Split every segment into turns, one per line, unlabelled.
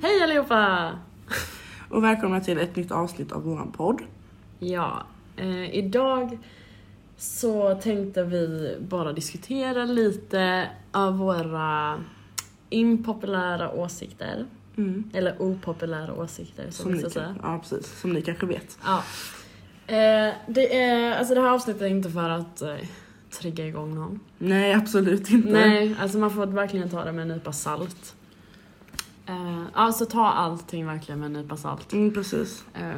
allihopa!
Och välkomna till ett nytt avsnitt av våran podd.
Ja, eh, idag så tänkte vi bara diskutera lite av våra impopulära åsikter.
Mm.
Eller opopulära åsikter som
Som,
vi ska
ni,
säga.
kan- ja, precis, som ni kanske vet.
Ja. Eh, det, är, alltså det här avsnittet är inte för att eh, trigga igång någon.
Nej, absolut inte.
Nej, alltså man får verkligen ta det med en nypa salt. Eh, alltså ta allting verkligen med en nypa salt.
Mm, precis.
Eh,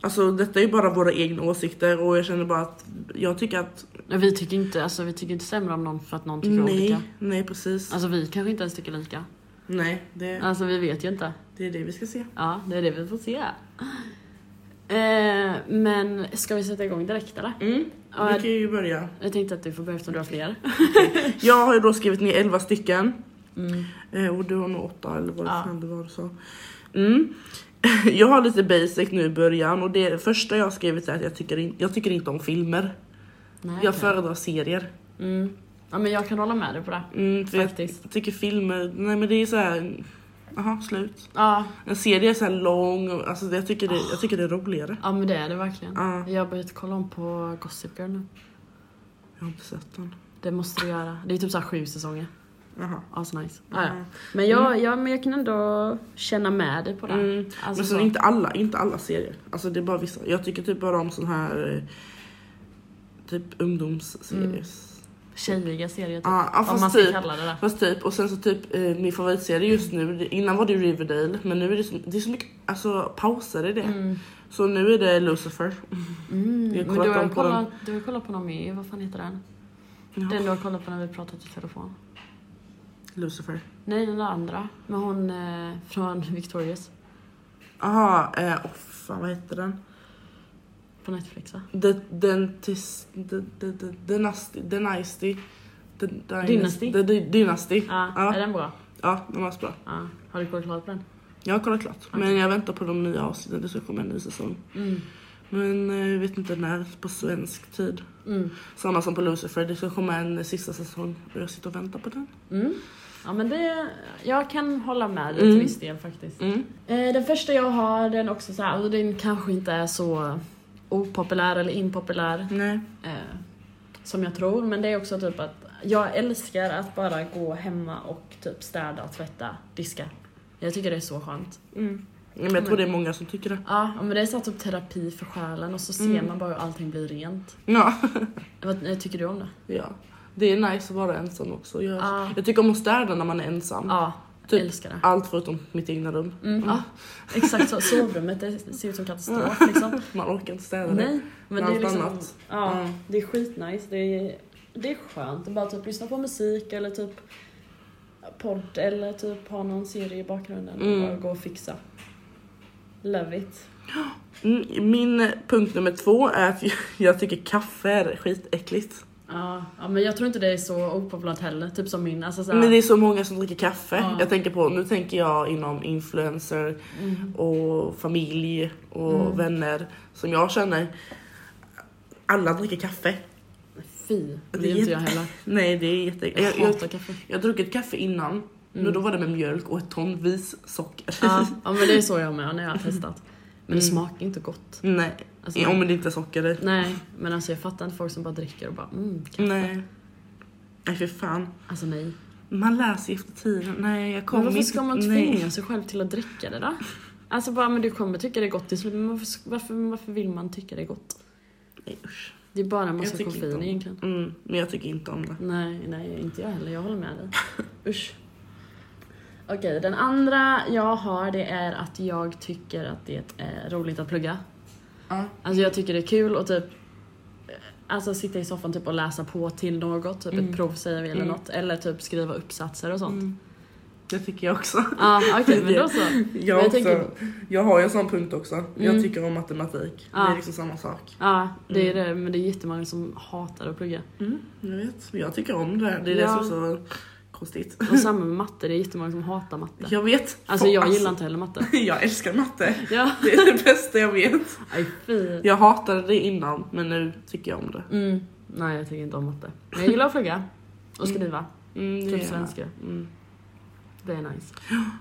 Alltså detta är ju bara våra egna åsikter och jag känner bara att jag tycker att
Men vi tycker inte, alltså, vi tycker inte sämre om någon för att någon tycker
nej,
olika.
nej precis.
Alltså vi kanske inte ens tycker lika.
nej, det,
Alltså vi vet ju inte.
det är det vi ska se.
Ja, det är det vi får se. Eh, men ska vi sätta igång direkt eller?
Mm.
Ja,
Vi kan ju börja.
Jag tänkte att du får börja eftersom du har fler.
Jag har ju då skrivit ner 11 stycken.
Mm.
Eh, Och du har nog åtta eller vad
Ja.
fan det var du sa. Mm. Jag har lite basic nu i början och det första jag har skrivit är att jag tycker, in, jag tycker inte om filmer.
Nej,
Jag
okej.
föredrar serier.
mm. Ja men jag kan hålla med dig på det.
Mm, för jag
Faktiskt.
tycker filmer, nej men det är så här. Jaha, slut.
Ja,
En serie är så här lång, och- alltså jag tycker det, jag tycker det är roligare. Ah,
ja men det är det verkligen.
Ja,
Jag har börjat kolla om på Gossip Girl nu.
jag har inte sett den.
Det måste du göra. Det är typ såhär sju säsonger.
Jaha.
Asnice. Ah, Ja, ja.
Mm.
Men, jag, ja, men jag kan ändå känna med dig på det.
Mm.
Alltså,
Men så inte alla, inte alla serier. Alltså det är bara vissa. Jag tycker typ bara om sån här eh, typ ungdomsserier.
Mm. tjejiga serier typ.
Ja, ja,
Om man
fast
ska
typ.
kalla det det.
Fast typ, och sen så typ eh, min favoritserie just nu, det- innan var det Riverdale men nu är det så, det är så mycket alltså, pauser i det.
Mm.
Så nu är det Lucifer.
Mm.
Vi
Men
har kollat
du, har
dem på
kollat, du har kollat på någon med, vad fan heter den?
Ja,
Den du har kollat på när vi pratat i telefon.
Lucifer.
Nej, den där andra. Med hon eh, från Victorious.
Jaha, eh, oh, fan vad heter den?
På Netflix va?
The, den tis, the, the, the, the, nasty, the Nasty. The, dynasty.
Dynasty.
The, dy- dynasty.
Ja,
Ja.
Är den bra?
Ja, den var så bra.
Ja. Har du kollat klart på den?
Jag har kollat klart. Men
Okej.
jag väntar på de nya avsnitten, det ska komma en ny säsong.
Mm.
Men eh, jag vet inte när, på svensk tid.
Mm.
Samma som på Lucifer, det ska komma en sista säsong och jag sitter och väntar på den.
Mm. Ja men det, jag kan hålla med dig till
Mm.
viss del faktiskt.
Mm.
Eh, den första jag har den också så här, och den kanske inte är så opopulär eller impopulär.
Nej.
Eh, som jag tror, men det är också typ att jag älskar att bara gå hemma och typ städa, tvätta, diska. Jag tycker det är så skönt.
Mm. Men jag tror det är många som tycker det.
Ja, Mm. men det är så här typ terapi för själen och så ser man bara hur allting blir rent.
Ja.
Vad eh, tycker du om det?
ja. Det är nice att vara ensam också. Jag,
Ja.
jag tycker om att städa när man är ensam.
Ja,
Typ.
älskar det.
Allt förutom mitt egna rum.
Mm, Ja, exakt så. Sovrummet det ser ut som katastrof liksom.
Man orkar inte städa det.
Nej, men det är
Allt
liksom...
annat.
Ja,
Mm.
det är skitnice. Det är, det är skönt att bara typ lyssna på musik eller typ podd eller typ ha någon serie i bakgrunden
Mm.
och bara gå och fixa. Love it.
Mm, Min punkt nummer två är att jag tycker kaffe är skitäckligt.
Alltså. Ja, ja, men jag tror inte det är så opopulärt heller. Typ som min, alltså såhär.
Men det är så många som dricker kaffe.
Ja.
Jag tänker på, nu tänker jag inom influencer
Mm.
och familj och
Mm.
vänner som jag känner. Alla dricker kaffe.
Fy, det
Det är
är inte jag heller.
Nej det är jätte...
Jag
Jag, jag,
hatar kaffe.
jag har druckit kaffe innan
Mm.
Men då var det med mjölk och ett tonvis socker.
Ja, ja, men det är så jag med när jag har testat. Men det
Mm.
smakar inte gott.
Nej,
Alltså,
om det inte är socker i.
Nej, men alltså jag fattar inte folk som bara dricker och bara mm, kaffe.
Nej. Nej för fan.
Alltså nej.
Man lär sig efter tiden. Nej jag
Men
kommer
varför ska man
nej.
tvinga sig själv till att dricka det då? Alltså bara, men du kommer tycka det är gott till slut, men varför, varför, varför vill man tycka det är gott?
Nej, usch.
Det är bara en
Jag
massa
tycker inte
koffein
om-
egentligen.
Mm, men jag tycker inte om det.
Nej, nej, inte jag heller. Jag håller med dig. Usch. Okej, den andra jag har det är att jag tycker att det är roligt att plugga.
Ja.
Alltså jag tycker det är kul och typ eh, Alltså sitta i soffan typ och läsa på till något, typ
Mm.
ett prov säger vi eller
Mm.
något. Eller typ skriva uppsatser och sånt.
Mm. Det tycker jag också.
Ja, okej men då så.
Jag,
jag
också.
tänker-
jag har ju en sån punkt också. Jag
Mm.
tycker om matematik. Det
Ja.
är liksom samma sak.
Ja, det är det. Men det är jättemånga som hatar att plugga.
Mm, jag vet, jag tycker om det. Det är
Ja.
det som är så konstigt.
Och samma med matte, det är jättemånga som hatar matte.
Jag vet.
Alltså jag gillar inte heller matte.
Jag älskar matte.
Ja,
Det är det bästa jag vet.
aj fy.
Jag hatade det innan men nu tycker jag om det.
Mm. Nej jag tycker inte om matte. Men jag gillar att plugga. Och skriva.
Mm, det
Typ
är-
svenska.
Mm.
Det är nice.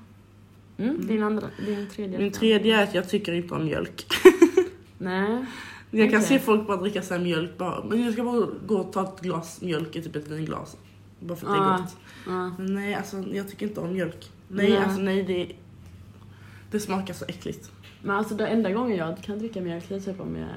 Mm.
Din, andra, din tredje?
Min tredje är att jag tycker inte om mjölk.
Nej.
Jag kan
Okej.
se folk bara dricka så här mjölk bara. Men jag ska bara gå och ta ett glas mjölk i typ ett vinglas. Bara för att det
Ah.
är gott.
Ja.
Nej alltså jag tycker inte om mjölk. Nej
Nej.
alltså nej det, det smakar så äckligt.
Men alltså den enda gången jag kan dricka mjölk det är typ om jag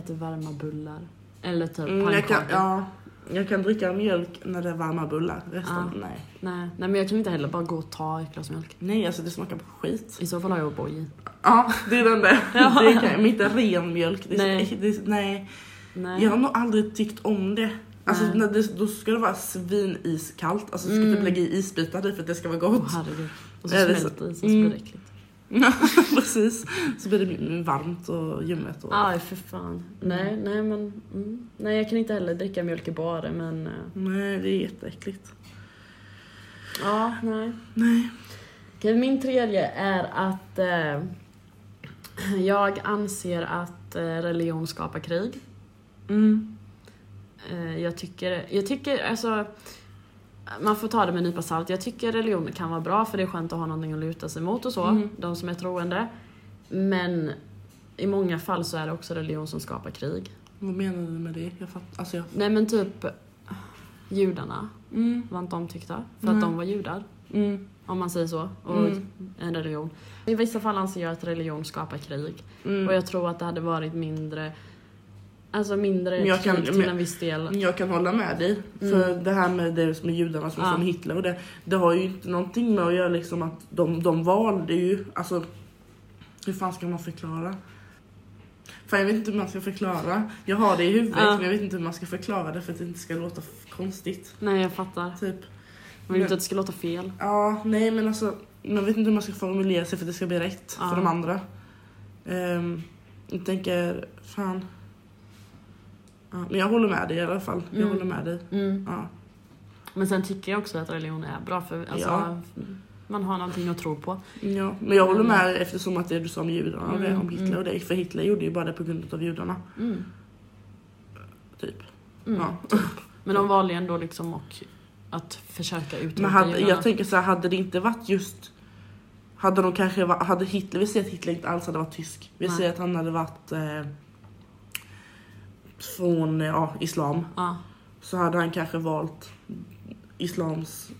äter varma bullar. Eller typ
Mm, jag, kan,
pannkakor.
ja, jag kan dricka mjölk när det är varma bullar. Resten,
Ah.
nej.
Nej. Nej men jag kan inte heller bara gå och ta ett glas mjölk.
Nej alltså det smakar på skit.
I så fall har jag O'boy i.
Ja det är den där.
Ja.
Det kan, men inte ren mjölk. Det är
Nej.
nej. Det är, nej.
Nej.
Jag har nog aldrig tyckt om det. Alltså
Nej.
när det, då ska det vara sviniskallt. Alltså du ska
Mm.
typ lägga i isbitar i för att det ska vara
Åh
gott.
herregud. Och så
Är det
smälter det i sig så
Mm.
blir det äckligt.
Precis. Så blir det varmt och ljummet. Och...
Aj för fan. Nej, nej men. Mm. Nej jag kan inte heller dricka mjölk i barer men. eh,
Nej det är jätteäckligt.
Ja, nej.
Nej.
Okej, min tredje är att eh, jag anser att eh, religion skapar krig.
Mm.
Eh, jag tycker, jag tycker alltså man får ta det med en nypa salt. Jag tycker religion kan vara bra för det är skönt att ha någonting att luta sig mot och så,
Mm.
de som är troende. Men i många fall så är det också religion som skapar krig.
Vad menar du med det? Jag fattar. Alltså jag...
Nej men typ judarna
Mm.
var inte omtyckta för att
Nej.
de var judar.
Mm.
Om man säger så. Och
Mm.
en religion. I vissa fall anser jag att religion skapar krig.
Mm.
Och jag tror att det hade varit mindre Alltså mindre
Men jag
krig
kan-
till
men-
en viss del.
Jag kan hålla med dig. För det här med det som är judarna som
Mm. Ja.
som Hitler och det. Det har ju inte någonting med att göra liksom att de, de valde ju, alltså hur fan ska man förklara? Fan jag vet inte hur man ska förklara. Jag har det i huvudet
Ja.
men jag vet inte hur man ska förklara det för att det inte ska låta f- konstigt.
Nej jag fattar.
Typ.
Man vill inte att det ska låta fel.
Ja, nej men alltså man vet inte hur man ska formulera sig för att det ska bli rätt
Ja.
för de andra. Ehm, jag tänker, fan. Ja, men jag håller med dig i alla fall. Jag
Mm.
håller med dig. Ja.
Men sen tycker jag också att religion är bra för alltså,
Ja.
man har någonting att tro på.
Ja, men jag håller med eftersom att det du sa om judarna och det,
Mm,
om Hitler
mm.
och det. För Hitler gjorde ju bara det på grund av judarna.
Mm.
Typ.
Mm.
Ja.
Men de valde ju ändå liksom och att försöka
Men
utrota
hade,
judarna.
jag tänker så här, hade det inte varit just... Hade de kanske va- hade Hitler, vi säger att Hitler inte alls hade varit tysk. Vi
Nej.
säger att han hade varit eh, från eh, ja, islam.
ja.
Så hade han kanske valt islams,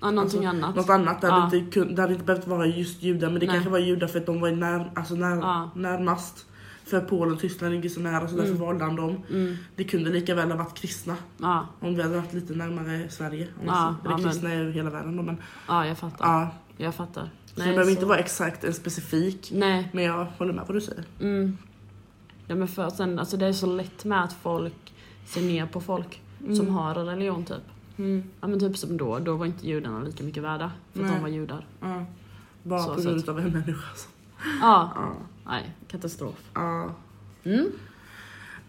Ja, någonting annat.
något annat. Det hade,
Ja.
inte, kun- det hade inte behövt vara just judar men det
Nej.
kanske var judar för att de var i när, alltså när,
Ja.
närmast. För Polen och Tyskland ligger så nära så därför
Mm.
valde han dem.
Mm.
Det kunde lika väl ha varit kristna
Ja.
om vi hade varit lite närmare Sverige. Om
Ja,
man säger. Eller
ja,
kristna är ju hela världen då, men
ja, jag fattar.
ja.
Jag fattar.
Så det behöver inte vara exakt en specifik.
Nej,
Men jag håller med vad du säger.
Mm. Ja, men för sen, alltså det är så lätt med att folk ser ner på folk som har en religion typ.
Mm.
Ja men typ som då, då var inte judarna lika mycket värda för att
Nej.
de var judar.
Ja. Bara
Så
på
sett.
grund av en människa. så.
Ja,
Ja.
nej, katastrof.
Ja.
Mm.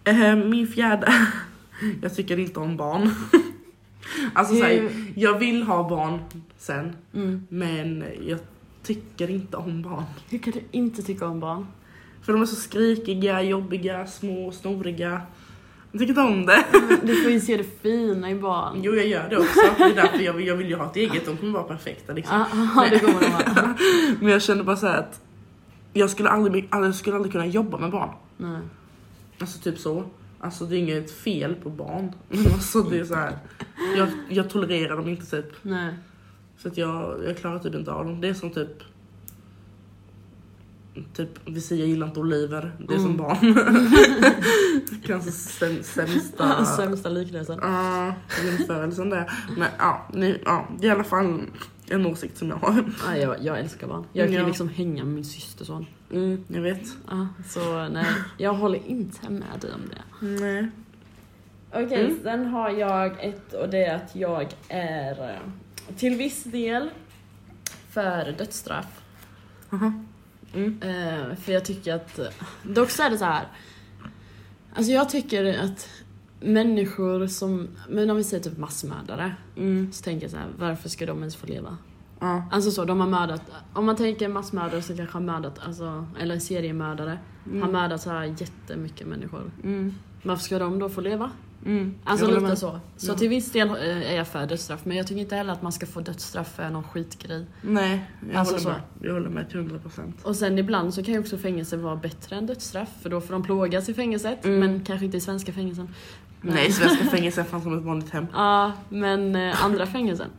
Eh, Min fjärde. Jag tycker inte om barn. Alltså såhär,
Hur-
jag vill ha barn sen
mm.
men jag tycker inte om barn.
Hur kan du inte tycka om barn?
För de är så skrikiga, jobbiga, små, snoriga. Jag tycker inte om det.
Du får ju se det fina i barn.
Jo jag gör det också, det är därför jag vill, jag vill ju ha ett eget, de kommer vara perfekta liksom.
Ja, ja, det kommer de vara.
Men jag känner bara så här att jag skulle aldrig, bli- aldrig- jag skulle aldrig kunna jobba med barn.
Nej.
Alltså typ så. Alltså det är inget fel på barn. Men alltså det är så här. Jag, jag tolererar dem inte typ.
Nej.
Så att jag, jag klarar typ inte av dem. Det är som typ Typ, vi säger jag gillar inte oliver, det är som
Mm.
barn. Kanske säm, sämsta...
Sämsta liknelsen.
Ja, jämförelsen där. Men ja, nu, ja, det är i alla fall en åsikt som jag har.
Ja, jag, jag älskar barn. Jag kan ju
Ja.
liksom hänga med min systerson.
Mm, Jag vet.
Ja, så nej, jag håller inte med dig om det.
Nej.
Okej,
Mm.
sen har jag ett och det är att jag är eh, till viss del för dödsstraff.
Aha. Mm.
Eh, för jag tycker att, dock så är det så här. Alltså jag tycker att människor som, men om vi säger typ massmördare,
Mm.
så tänker jag så här, varför ska de ens få leva?
Ja.
Alltså så, de har mördat, om man tänker massmördare så kanske har mördat, alltså, eller seriemördare, har mördat så här jättemycket människor.
Mm.
Varför ska de då få leva?
Mm.
Alltså
jag håller
lite
med.
så. Så
Ja.
till viss del eh, är jag för dödsstraff men jag tycker inte heller att man ska få dödsstraff för någon skitgrej.
Nej, jag
Alltså
håller
så.
med. Jag håller med till 100 procent.
Och sen ibland så kan ju också fängelse vara bättre än dödsstraff för då får de plågas i fängelset
Mm.
men kanske inte i svenska fängelsen. Men-
Nej, svenska fängelser fanns som ett vanligt hem.
Ja, men eh, andra fängelsen.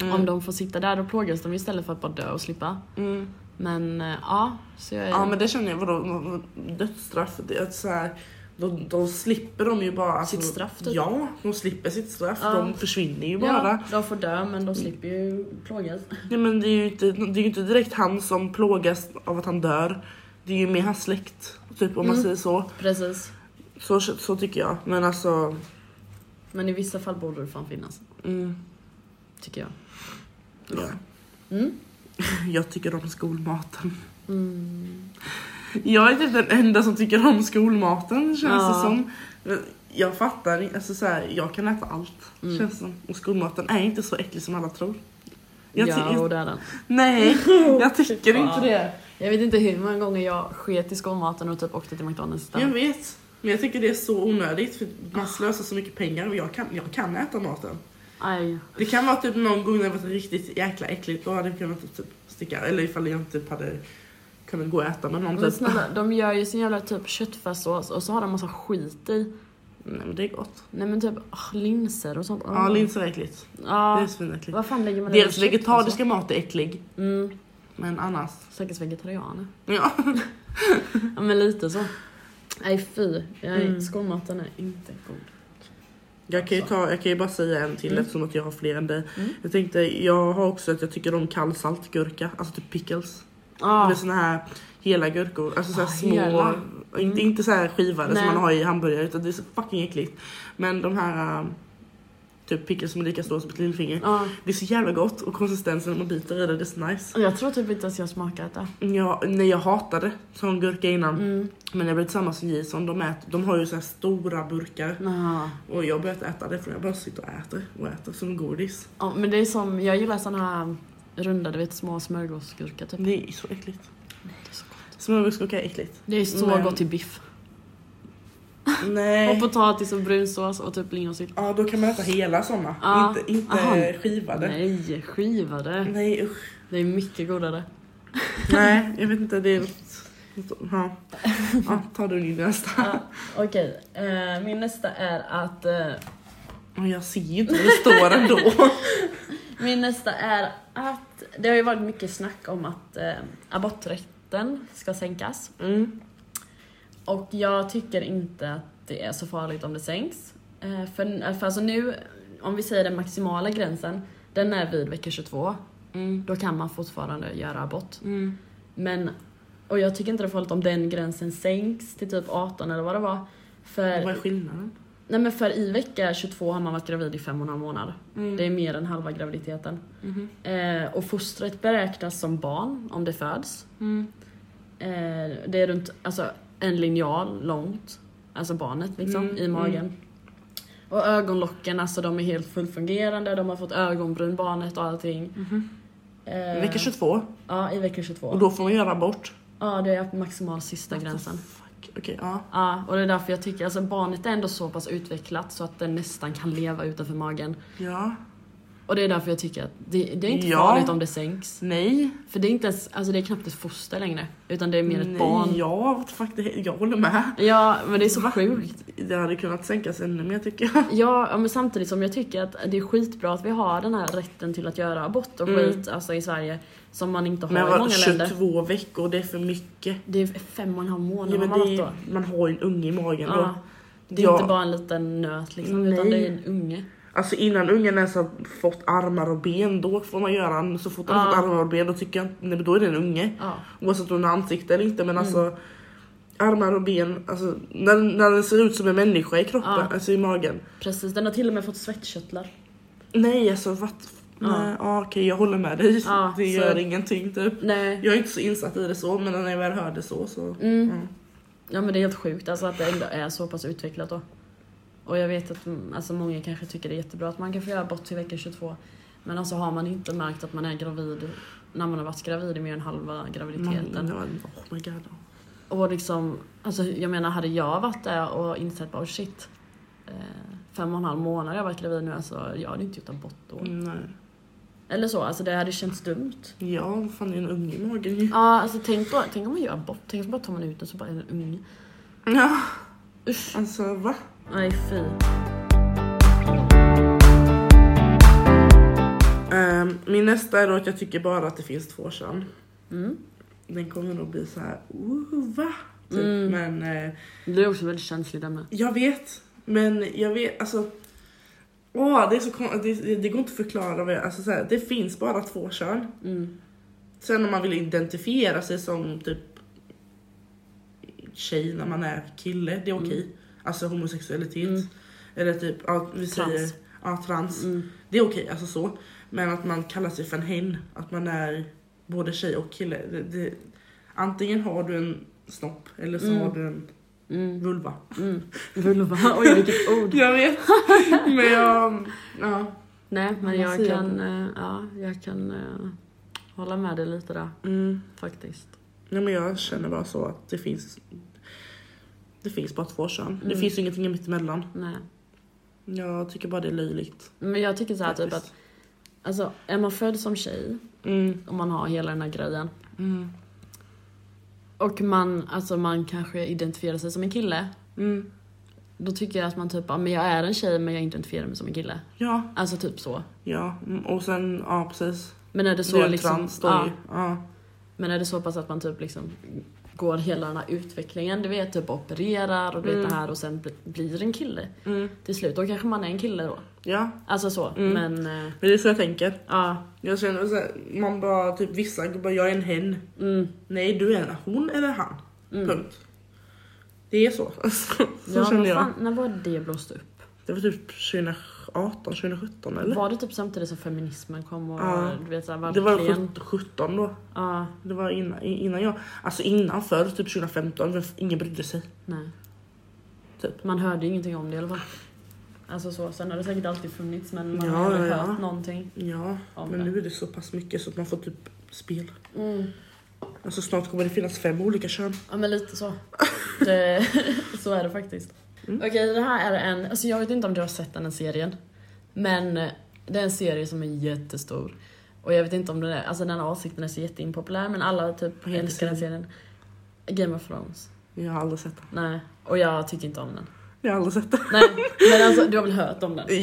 Mm.
Om de får sitta där då plågas de istället för att bara dö och slippa.
Mm.
Men eh, ja, så jag är...
Ja men det känner jag, vadå, vadå, dödsstraff? Det är att så här, då, då slipper de ju bara... alltså,
Sitt straff, typ.
Ja, de slipper sitt straff.
Ja.
De försvinner ju bara.
ja, de får dö men de slipper ju plågas.
Nej men det är ju inte, det är ju inte direkt han som plågas av att han dör. Det är ju mer hans släkt, typ om man
Mm.
säger så.
Precis.
så. Så tycker jag. Men alltså...
Men i vissa fall borde det fan finnas,
Mm,
tycker jag.
ja.
Mm.
Jag tycker om skolmaten.
Mm.
Jag är typ den enda som tycker om skolmaten känns
Ja.
det som. Jag fattar inte, alltså så här, jag kan äta allt
Mm.
känns det som. Och skolmaten är inte så äcklig som alla tror. Jag ty-
ja,
jag-
och där den.
Nej, jag tycker
Fan.
inte det.
Jag vet inte hur många gånger jag sket i skolmaten och typ åkte till McDonalds
Jag
istället.
vet. Men jag tycker det är så onödigt för man slösar så mycket pengar och jag kan, jag kan äta maten.
Aj.
Det kan vara typ någon gång när det varit riktigt jäkla äckligt då hade jag kunnat typ sticka. Eller ifall jag typ hade kunnat gå och äta med någon
Men
typ.
snälla, de gör ju sin jävla typ köttfärssås och så har de massa skit i.
Nej men det är gott.
Nej men typ ah, linser och sånt. Ah.
Ja linser är äckligt. Det är
Ja,
svinäckligt.
vad fan lägger man i
Dels
köttfärssås? alltså.
vegetariska mat är äcklig.
Mm,
Men annars.
säkert vegetarianer.
Ja.
Ja men lite så. Nej fy, jag,
Mm.
skolmaten är inte god.
Jag kan, ju ta, jag kan ju bara säga en till
Mm.
eftersom att jag har fler än dig.
Mm.
Jag tänkte, jag har också att jag tycker om kall saltgurka, alltså typ pickles.
Ah,
Med såna här hela gurkor, alltså så här
Ah,
små.
hela. Mm.
Inte, inte så här skivade
Nej.
som man har i hamburgare utan det är så fucking äckligt. Men de här ähm, typ pickles som är lika stora som ett lillfinger.
ah.
Det är så jävla gott och konsistensen när man biter i det, det är så nice.
Jag tror typ inte ens jag smakat det.
Jag, nej, jag hatade sån gurka innan
Mm.
men när jag blev tillsammans med Jason, de, äter, de har ju så här stora burkar.
Ah.
Och jag har börjat äta det för jag bara sitter och äter och äter som godis.
Ja, men det är som, jag gillar såna här runda, du vet små smörgåsgurka typ.
Det är så äckligt.
Det är så gott.
Smörgåsgurka är äckligt.
Det är så
Men-
gott till biff. Och
Nej.
potatis och brunsås och typ lingonsylt.
Ja då kan man äta hela såna.
Ja.
Inte, inte
Aha.
skivade. Nej.
Nej, skivade.
usch.
Mm. Det är mycket godare.
Nej jag vet inte det är något. något- Ja. ja ta du din nästa.
Okej, Eh, min nästa är att... eh,
Och jag ser ju inte vad det står ändå.
min nästa är att... Det har ju varit mycket snack om att eh, aborträtten ska sänkas.
Mm.
Och jag tycker inte att det är så farligt om det sänks. Eh, För, för alltså nu, om vi säger den maximala gränsen, den är vid vecka 22.
Mm.
Då kan man fortfarande göra abort.
Mm.
Men, och jag tycker inte det är farligt om den gränsen sänks till typ 18 eller vad det var.
Vad är
För,
skillnaden?
nej men för i vecka 22 har man varit gravid i fem och en halv månad.
Mm.
Det är mer än halva graviditeten.
Mhm.
Eh, och fostret beräknas som barn om det föds.
Mm.
Eh, det är runt alltså, en linjal långt, alltså barnet liksom,
Mm,
i magen. Och ögonlocken, alltså de är helt fullfungerande, de har fått ögonbryn barnet och allting.
Mhm.
Eh,
Vecka 22
Ja, i vecka
och
22.
då får man göra abort.
Ja, det är maximal sista gränsen.
Fuck. Okej ja.
Ja, och det är därför jag tycker, alltså barnet är ändå så pass utvecklat så att den nästan kan leva utanför magen.
Ja.
Och det är därför jag tycker att det, det är inte
Ja.
farligt om det sänks.
Nej.
För det är inte ens, alltså det är knappt ett foster längre, utan det är mer ett
Nej,
barn.
Ja, what the fuck, det, jag håller med.
Ja, men det är så
Va?
sjukt.
Det hade kunnat sänkas ännu mer tycker jag.
Ja, ja, men samtidigt som jag tycker att det är skitbra att vi har den här rätten till att göra abort och
Mm.
skit alltså i Sverige som man inte har
Men
i
vad,
många länder.
22 veckor, det är för mycket.
Det är fem och en halv månad
Ja, men
man har varit
det
då.
är, man har ju en unge i magen då.
Ja, det är
Ja.
inte bara en liten nöt liksom, utan
Nej.
det är en unge.
Alltså innan ungen ens har fått armar och ben, då får man göra en. Så fort han har
Ja.
fått armar och ben, då tycker jag inte- nej, men då är det en unge.
Ja.
Oavsett om den har ansikte eller inte. Men alltså armar och ben, alltså, när, när den ser ut som en människa i kroppen,
Ja.
alltså i magen.
Precis, den har till och med fått svettkörtlar.
Nej alltså vad?
Ja.
Nej, ja, okej jag håller med dig.
Ja,
det
så-
gör ingenting typ.
Nej.
Jag är inte så insatt i det så, men när jag väl hörde så så...
Mm.
Mm.
Ja men det är helt sjukt alltså att det ändå är så pass utvecklat då. Och jag vet att mm, alltså, många kanske tycker det är jättebra att man kan få göra abort till vecka 22. Men alltså har man inte märkt att man är gravid när man har varit gravid i mer än halva graviditeten.
Man, det var, oh my god.
Och liksom, alltså jag menar hade jag varit där och insett bara oh shit. eh, fem och en halv månad jag varit gravid nu, alltså jag hade inte gjort abort då.
Nej.
Eller så, alltså det hade känts dumt.
Ja, vad fan det är en unge i magen ju.
Ja, alltså tänk, då, tänk om man gör abort, tänk så bara tar man ut den så bara är den ung.
Ja.
Usch.
Alltså va?
Nej fy.
Ehm, min nästa är då att jag tycker bara att det finns två kön.
Mm.
Den kommer nog bli så här, "Ooh, va? Typ.
Mm.
Men eh,
Det är också väldigt känsligt ämne.
jag vet. Men jag vet, alltså. Åh, det, är så kon- det, det, det går inte att förklara. Vad jag, alltså, så här, det finns bara två kön.
Mm.
Sen om man vill identifiera sig som typ tjej när man är kille, det är okej. Alltså homosexualitet.
Mm.
Eller typ, ja, vi
Trans.
säger ja, trans.
Mm.
Det är okej, alltså så. Men att man kallar sig för en hen, att man är både tjej och kille. Det, det, antingen har du en snopp eller så
Mm.
har du en
Mm.
vulva.
Mm. Vulva. Oj vilket ord.
Jag vet. Men jag... Ja.
Nej
Man
men jag
ser
kan, eh, ja, jag kan eh, hålla med dig lite där
Mm.
faktiskt.
Nej, men jag känner bara så att det finns... Det finns bara två kön. Det
Mm.
finns ingenting mittemellan.
Nej.
Jag tycker bara det är löjligt.
Men jag tycker så här typ att
faktiskt.
alltså, är man född som tjej
Mm.
och man har hela den här grejen
Mm.
och man, alltså, man kanske identifierar sig som en kille
Mm.
då tycker jag att man typ, ja, men jag är en tjej men jag identifierar mig som en kille.
Ja,
Alltså typ så.
ja. Mm, Och sen, ja precis.
Men är det
det
så
är
liksom...
trans då
ja,
ju. Ja.
men är det så pass att man typ liksom går hela den här utvecklingen, du vet typ opererar och du
Mm.
vet det här och sen bli, blir en kille
Mm.
till slut. Då kanske man är en kille då.
ja,
Alltså så,
Mm.
men eh,
men det är så jag tänker.
ja.
Jag känner så här, man bara typ vissa bara jag är en hen.
Mm,
Nej du är en hon eller han.
mm.
Punkt. Det är så. Alltså, så
Ja,
känner
men
jag.
fan, när var det blåst upp?
Det var typ 2018, 2017 eller?
Var det typ samtidigt som feminismen kom och
Ja.
du vet såhär
det var
verkligen...
17, 17 då.
Ja,
Det var innan, innan jag, alltså innan förr typ 2015, men ingen brydde sig.
nej.
Typ.
Man hörde ju ingenting om det i alla fall. Alltså så, sen har det säkert alltid funnits men man
Ja,
har aldrig
ja, ja.
hört någonting
Ja,
om
men
det.
nu är det så pass mycket så att man får typ spel.
Mm.
Alltså snart kommer det finnas fem olika kön.
Ja men lite så. Det, så är det faktiskt.
Mm.
Okej det här är en, alltså jag vet inte om du har sett den här serien. Men eh, det är en serie som är jättestor. Och jag vet inte om den är, alltså den här avsikten är så jätteimpopulär men alla typ
Vad heter
älskar den serien. Game of Thrones.
Jag har aldrig sett det.
Nej, och jag tycker inte om den.
Jag har aldrig sett det.
Nej, men alltså du har väl hört om den?
Ja,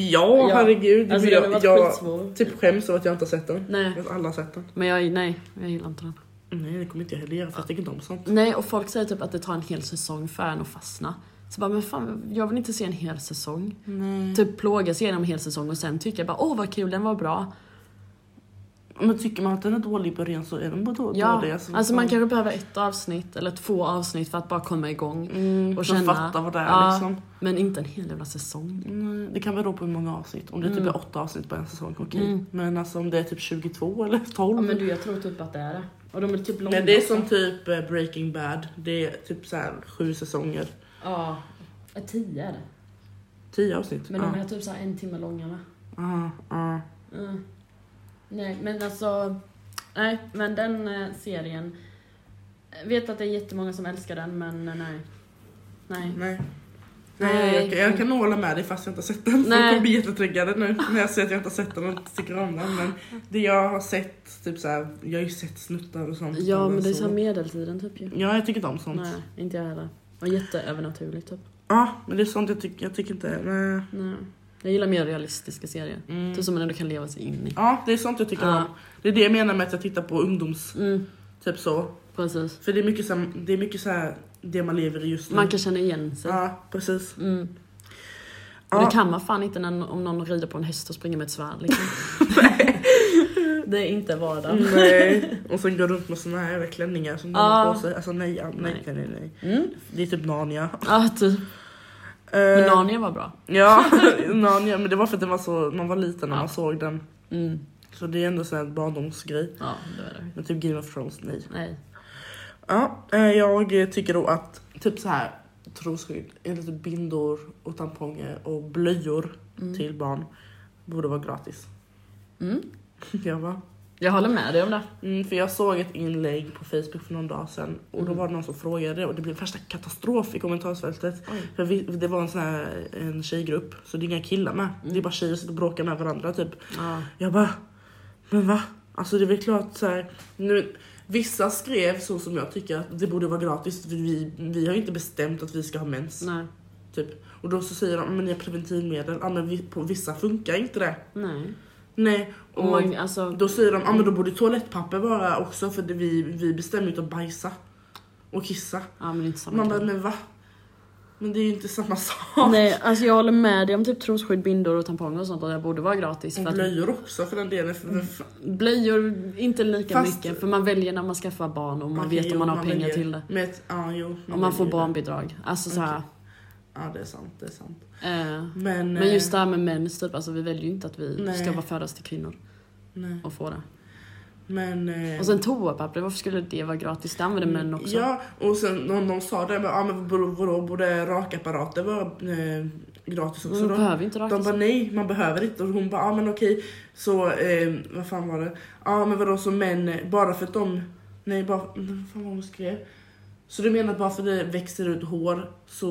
Ja.
herregud.
Alltså
men
den har varit
jag, jag
skitsvår.
typ skäms över att jag inte har sett den.
Nej,
Att alla har sett den.
men jag, nej, jag gillar inte den.
Nej det kommer inte jag heller göra för jag tycker inte om sånt.
Nej, och folk säger typ att det tar en hel säsong för en att fastna. Så bara, men fan, jag vill inte se en hel säsong.
Nej.
typ plågas igenom en hel säsong och sen tycker jag bara åh vad kul, den var bra.
Men tycker man att den är dålig i början så är den bara då,
Ja,
dålig.
alltså man kanske behöver ett avsnitt eller två avsnitt för att bara komma igång.
mm,
och
man
känna-
fattar vad det är
Ja.
liksom.
Men inte en hel jävla säsong.
Nej, Det kan bero på hur många avsnitt. Om det typ
Mm.
är åtta avsnitt på en säsong, okej.
Mm.
Men alltså om det är typ 22 eller 12.
du, jag tror typ att det är det. Och de är typ långa.
Men det är som typ eh, Breaking Bad. Det är typ så här sju säsonger.
Ja. Tio är det.
Tio avsnitt. ja.
är typ så en timme långa va?
Ja, ja.
Mm. Nej men alltså, nej men den eh, serien. Jag vet att det är jättemånga som älskar den men eh, nej. Nej.
Nej. Nej, jag, jag kan nog hålla med dig fast jag inte har sett den. Folk
Nej.
kommer bli jättetriggade nu när jag säger att jag inte har sett den och inte tycker om den. Men det jag har sett, typ så här, jag har ju sett snuttar och sånt.
Ja men det är så
så.
här medeltiden typ ju.
Ja, jag tycker inte om sånt.
Nej, inte jag heller. Och jätteövernaturligt typ.
Ja, men det är sånt jag, tyck, jag tycker inte... Nej.
Nej. Jag gillar mer realistiska serier.
Mm.
Typ som man ändå kan leva sig in i.
Ja, det är sånt jag tycker
Ja.
om. Det är det jag menar med att jag tittar på ungdoms...
Mm,
Typ så.
precis.
För det är mycket så här, det, är mycket så här, det man lever i just nu.
Man kan känna igen sig.
Ja, precis.
Mm. Och
Ja.
det kan man fan inte när, om någon rider på en häst och springer med ett svärd liksom. det är inte vardag.
Mm, Nej. Och sen går runt med såna här jävla klänningar som de
Ja.
har på sig. Alltså nej, ja, nej, nej, nej, nej.
Mm.
Det är typ Narnia.
Ja, typ. Men
Eh,
Narnia var bra.
Ja, Narnia. Men det var för att den var så, man var liten när
Ja.
man såg den.
Mm.
Så det är ändå så här en barndomsgrej.
Ja, det var det.
Men typ Game of Thrones, nej.
Nej.
Ja, eh, jag tycker då att typ så här trosskydd, eller typ bindor och tamponger och blöjor
Mm.
till barn borde vara gratis.
Mm.
Jag bara,
Jag håller med dig om det.
Mm, för jag såg ett inlägg på Facebook för någon dag sedan och då
Mm.
var det någon som frågade och det blev värsta katastrof i kommentarsfältet.
Oj.
För vi, det var en sån här en tjejgrupp, så det är inga killar med. Det är bara tjejer som sitter och bråkar med varandra typ.
Ja.
Jag bara, men va? Alltså det är väl klart så här, nu, Vissa skrev så som jag tycker att det borde vara gratis för vi, vi har ju inte bestämt att vi ska ha mens.
Nej.
Typ. Och då så säger de, men ni har preventivmedel, ja, men vi, på vissa funkar inte det.
Nej.
Nej.
Och man, alltså,
Då säger de, ja men då borde toalettpapper vara också för det, vi, vi bestämmer ut att bajsa och kissa.
ja, men det är inte samma
Man
grej.
bara, men va? Men det är ju inte samma sak.
Nej, alltså jag håller med dig om typ trosskydd, bindor och tamponger och sånt. Och det borde vara gratis.
Och
För att
blöjor också för den delen. För, för,
blöjor, inte lika
Fast-
mycket. För man väljer när man skaffar barn och man
okej,
vet om
jo,
man har pengar
väljer.
till det.
Men, ett- ja, jo,
Om man får
väljer det.
barnbidrag. Alltså så här,
Ja det är sant, det är sant.
eh,
Men,
Men just
eh,
det här med mens, typ, alltså vi väljer ju inte att vi
Nej.
ska vara födas till kvinnor
Nej.
och få det.
Men, eh,
Och sen toapapper, varför skulle det vara gratis? Det använder män också.
Ja, och sen någon, någon sa det, men, ja, men vadå, vadå, borde rakapparater vara eh, gratis också
Men
då?
de behöver inte raka
De bara
sig.
nej, man behöver inte. Och hon bara, ja ah, men okej. Så, eh, vad fan var det? Ja ah, men vadå så män, eh, bara för att de, nej bara, mm, vad fan var hon skrev? Så du menar att bara för att det växer ut hår så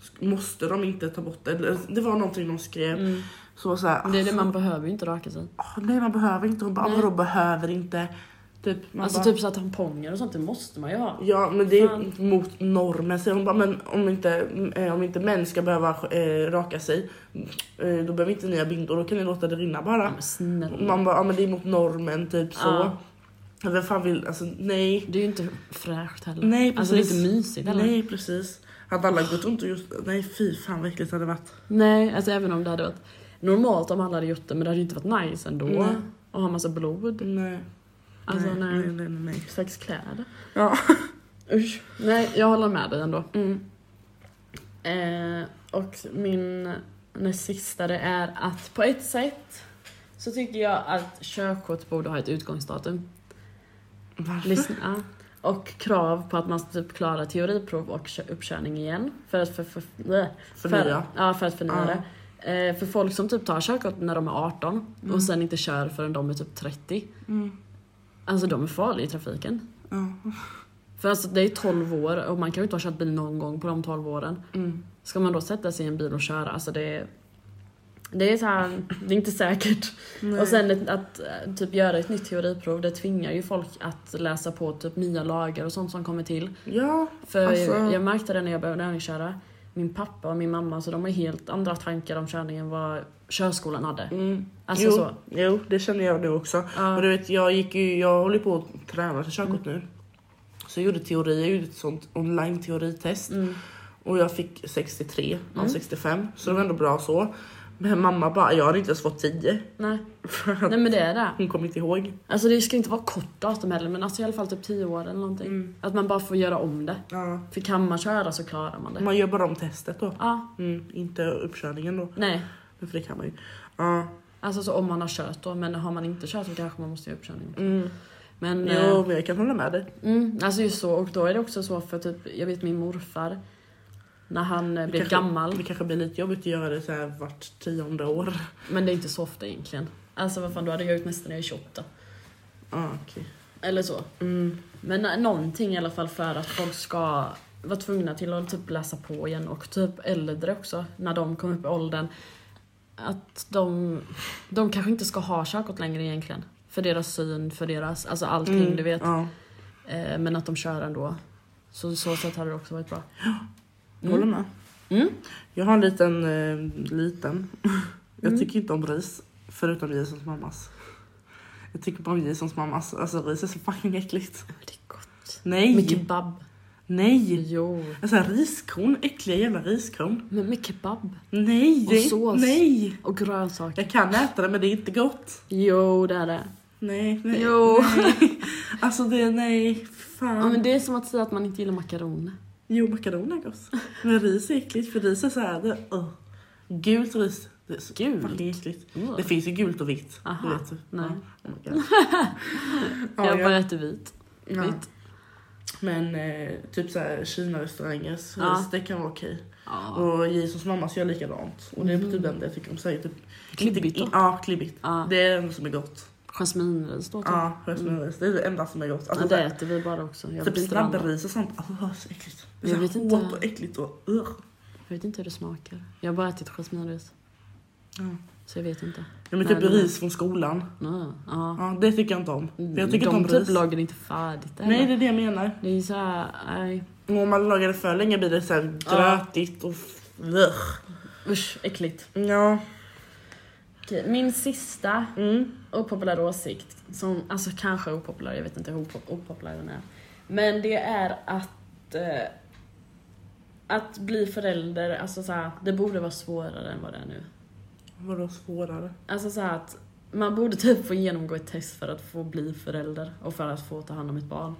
sk- måste de inte ta bort det? Eller, alltså, Det var någonting de skrev.
Mm.
Så var så här,
Men Det är det, man behöver ju inte raka sig.
ah, nej Alltså. man behöver inte. Hon bara, ah,
Nej.
vadå behöver inte? Typ, man
Alltså
bara,
typ så här tamponger och sånt, det måste man ju ha.
Ja men det är
Fan.
mot normen säger hon bara men om inte, eh, om inte män ska behöva eh, raka sig eh, då behöver inte ni ha bindor, då kan ni låta det rinna bara.
Ja, men snälla.
Man bara, ja men det är mot normen typ så.
Ja.
Vem fan vill, alltså nej.
Det är ju inte fräscht heller.
Nej precis.
alltså det är inte mysigt heller. Nej.
nej precis. Hade alla gått runt och just, nej fy fan vad äckligt det hade varit.
alltså även om det hade varit normalt om alla hade gjort det, men det hade ju inte varit nice ändå.
Nej.
Och ha massa blod.
Nej.
Alltså
eh, nej,
nej.
nej, nej, nej, nej.
Slags kläder.
Ja.
Usch. Nej, jag håller med dig ändå.
Mm.
Eh, och min näst sista det är att på ett sätt så tycker jag att körkort borde ha ett utgångsdatum.
Varför?
Lyssna. Och krav på att man ska typ klara teoriprov och kö- uppkörning igen. För att, för, för, bleh.
Förnya.
För, ja, för att förnya
Ja.
det. Eh, för folk som typ tar körkort när de är 18
Mm.
och sen inte kör förrän de är typ 30.
Mm.
Alltså de är farliga i trafiken.
Ja.
För alltså det är 12 år och man kan ju inte ha kört bil någon gång på de 12 åren.
Mm.
Ska man då sätta sig i en bil och köra? Alltså det är, det är så här, det är inte säkert.
Nej.
Och sen ett, att eh, typ göra ett nytt teoriprov, det tvingar ju folk att läsa på typ nya lagar och sånt som kommer till.
Ja.
För
Alltså-
jag, jag märkte det när jag började övningsköra. Min pappa och min mamma, så de har helt andra tankar om körning än vad körskolan hade.
Mm.
Alltså
jo,
så.
jo, det känner jag nu också.
Ja. Mm.
Och du vet, jag, gick ju, jag håller på att träna till körkort nu. Så jag gjorde teori, jag gjorde ett sånt online teoritest.
Mm.
Och jag fick 63 av
Mm.
65, så det var ändå bra så. Men mamma bara, jag hade inte ens fått 10.
Nej.
För att
Nej men det är det.
hon kom inte ihåg.
Alltså det ska inte vara kort datum heller men alltså i alla fall typ 10 år eller någonting.
Mm.
Att man bara får göra om det.
Ja.
För kan man köra så klarar man det.
Man gör bara om testet då.
Ja,
Mm, inte uppkörningen då,
nej.
för det kan man ju. Ja.
Alltså så om man har kört då men har man inte kört så kanske man måste göra uppkörning.
Mm.
Men,
Jo, men jag kan hålla med dig.
eh, mm, alltså just så och då är det också så för typ, jag vet min morfar när han eh, blev
kanske-
gammal,
Det kanske blir lite jobbigt att göra det så här vart tionde år.
men det är inte så ofta egentligen. Alltså vad fan, då hade jag gjort nästan när jag är 28.
Ja, okej.
Eller så.
Mm.
Men eh, någonting i alla fall för att folk ska vara tvungna till att typ läsa på igen och typ äldre också när de kommer upp i åldern. Att de, de kanske inte ska ha körkort längre egentligen. För deras syn, för deras, alltså allting
Mm,
du vet.
Ja.
Eh, men att de kör ändå. Så så sätt hade det också varit bra.
Jag håller med.
Mm.
Jag har en liten, eh, liten. Jag
Mm.
tycker inte om ris. Förutom Jasons mammas. Jag tycker bara om Jasons mammas. Alltså ris är så fucking äckligt.
Det är gott.
Nej!
Med kebab.
Nej!
Jo.
Alltså riskorn, äckliga jävla riskorn.
Men med kebab.
Nej!
Och
det är-
sås.
Nej!
Och grönsaker.
Jag kan äta det men det är inte gott.
Jo, det är det.
Nej, nej.
Jo.
nej. Alltså det är nej, fan.
Ja, men det är som att säga att man inte gillar makaroner.
Jo, makaroner är gott. Men ris är äckligt för ris är såhär, det, uh. gult ris. Det är så
Gult?
fucking äckligt.
Mm.
Det finns ju gult och vitt.
Aha,
Du vet.
nej.
Ja. Oh my God. ja,
Jag bara
jag,
äter vit.
ja.
Vitt.
Men eh, typ såhär Kina-restaurangers
Ja.
ris, det kan vara okej.
Ja.
Och Jesus mammas gör likadant. Och det är typ
Mhm.
den jag tycker om. Såhär, typ,
Klibbigt
inte-
då?
Ja, klibbigt.
Ja.
Det är den som är gott.
Jasminris då typ.
Ja, jasminris. Det är det enda som är gott.
Ja,
Alltså,
det
ja,
äter vi bara också. Jag
typ
vet, inte vad annat.
snabbris och sånt. Åh, så äckligt. Det är
Jag
så
vet
här
inte.
hårt och äckligt och ugh.
jag vet inte hur det smakar. Jag har bara ätit jasminris.
Ja.
Så jag vet inte.
Ja, men
Nej,
typ
nej.
ris från skolan.
Ja. Ja.
Ja, det tycker jag inte om. För jag tycker
de
inte om
typ
ris.
lagar inte färdigt heller.
Nej, det är det jag menar.
Det är ju såhär, nej.
Och om man lagar det för länge blir det så här grötigt och... Ugh.
Usch, äckligt.
Ja.
Okej, min sista
Mm.
opopulära åsikt, som alltså kanske är opopulär, jag vet inte hur opop- opopulär den är. Men det är att eh, att bli förälder, alltså så här, det borde vara svårare än vad det är nu.
Vadå svårare?
Alltså så här att man borde typ få genomgå ett test för att få bli förälder och för att få ta hand om ett barn.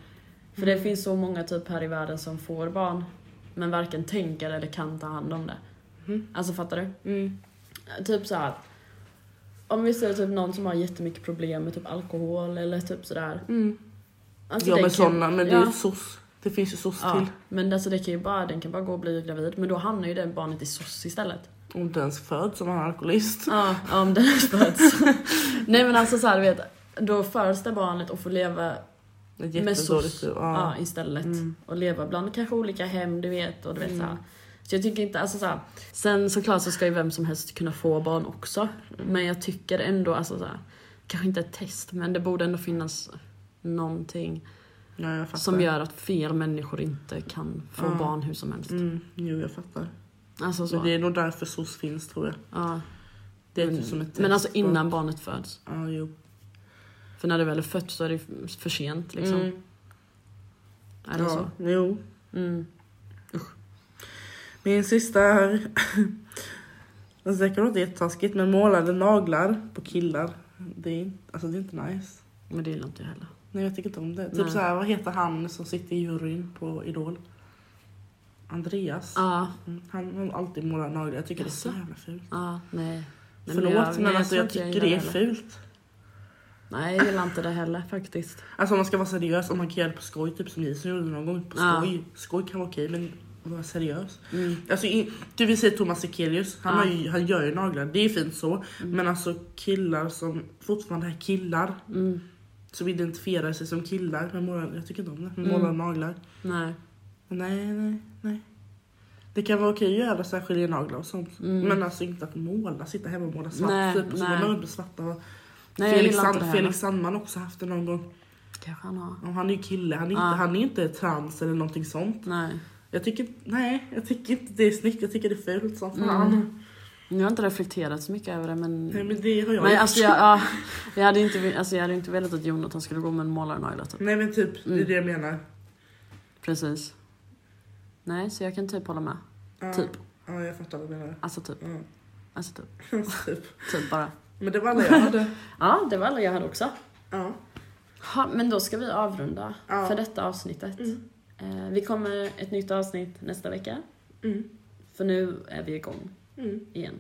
För det finns så många typ här i världen som får barn men varken tänker eller kan ta hand om det.
Mhm.
Alltså fattar du?
Mm.
Typ så här. Om vi ser typ någon som har jättemycket problem med typ alkohol eller typ sådär.
Mm.
Alltså,
Ja
den
men
kan-
såna, men det
ja.
är ju soc. Det finns ju soc
Ja,
till.
men alltså det kan ju bara, den kan bara gå och bli gravid men då hamnar ju det barnet i soc istället.
Om inte ens föds som en alkoholist.
Ja, om den föds. Nej men alltså såhär du vet, då föds det barnet och får leva
Det är
med
jättedåligt.
soc
Ja.
ja. istället.
Mm.
Och leva bland kanske olika hem du vet och du vet
Mm.
såhär. Så jag tycker inte, alltså såhär. Sen såklart så ska ju vem som helst kunna få barn också. Men jag tycker ändå, alltså såhär. Kanske inte ett test men det borde ändå finnas någonting
Ja, jag fattar.
som gör att fel människor inte kan få
Ja.
barn hur som helst.
Mm, jo jag fattar.
Alltså så.
Men det är nog därför soc finns tror jag.
ja.
Det är
men,
typ som ett
men alltså
test på-
innan barnet föds.
Ja jo.
För när det väl är fött så är det ju för sent liksom.
Mm.
Är det
ja,
så?
Jo.
Mm.
Min sista här. Alltså, det kan låta jättetaskigt men målade naglar på killar. Det är, inte- alltså, det är inte nice.
Men det gillar inte jag heller.
Nej jag tycker inte om det.
Nej.
Typ så här, vad heter han som sitter i juryn på Idol? Andreas.
Ja,
Mm, Han har alltid målat naglar. Jag tycker det är
Jaså?
så jävla fult.
ja, nej. nej
Förlåt men,
nej,
alltså,
tror
jag,
inte
tycker
gillar
det är
heller.
fult.
Nej, jag gillar inte det heller faktiskt.
Alltså om man ska vara seriös, om man kan göra det på skoj, typ som Jason gjorde någon gång. På
Ja.
skoj. Skoj kan vara okej men vara seriös.
Mm.
Alltså, i, du vill säga Thomas Ekelius, han,
Ja.
har ju, han gör ju naglar, det är fint så. Men alltså killar som fortfarande är killar,
Mm.
som identifierar sig som killar. Med målar, jag tycker inte om det, med
Mm.
målade naglar.
Nej.
Nej, nej, nej. Det kan vara okej att göra så här skiljenaglar och sånt.
Mm.
Men alltså inte att måla, sitta hemma och måla svart.
Nej,
typ, så
nej.
man behöver inte svarta. Och
nej, jag
Felix,
gillar inte det
Sand,
heller.
Felix Sandman har också haft det någon gång.
Kanske han har.
Ja, Han är ju kille, han är,
Ja.
inte, han är inte trans eller någonting sånt.
Nej.
Jag tycker, nej, jag tycker inte det är snyggt, jag tycker det är fult som fan.
Mm. Jag har inte reflekterat så mycket över det men...
Nej men det har jag
Men
gjort.
alltså jag, ja, jag, hade inte, ve- alltså jag hade inte velat att Jonathan skulle gå med en målarnagla typ.
Nej men typ, det är
Mm.
det jag menar.
Precis. Nej, så jag kan typ hålla med.
Ja,
Typ.
Ja, jag fattar vad du menar.
Alltså typ.
Ja,
Alltså typ.
typ.
Typ bara.
Men det var alla jag hade.
Ja, det var alla jag hade också.
Ja.
Ha, men då ska vi avrunda
Ja.
för detta avsnittet.
Mm.
Eh, vi kommer ett nytt avsnitt nästa vecka.
Mm.
För nu är vi igång
Mm.
igen.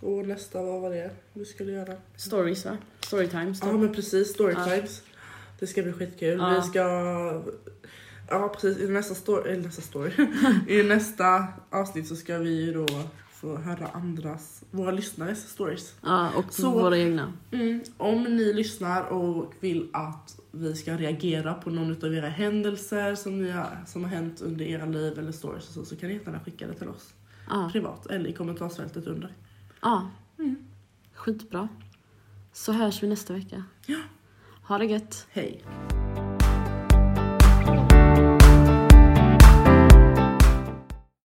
Och nästa, vad var det vi skulle göra?
Stories va? Storytime.
Ja
Story.
men precis,
Ja.
storytimes. Det ska bli skitkul.
Ja.
Vi ska... Ja precis, i nästa story, eller nästa story. I nästa avsnitt så ska vi ju då få höra andras, våra lyssnares stories.
Ja, och
Så-
våra egna.
Mm. Om ni lyssnar och vill att vi ska reagera på någon av era händelser som, ni har, som har hänt under era liv eller stories och så, så kan ni gärna skicka det till oss.
Ja.
Privat eller i kommentarsfältet under.
ja. Mm. Skitbra. Så hörs vi nästa vecka.
Ja.
Ha det gött.
Hej!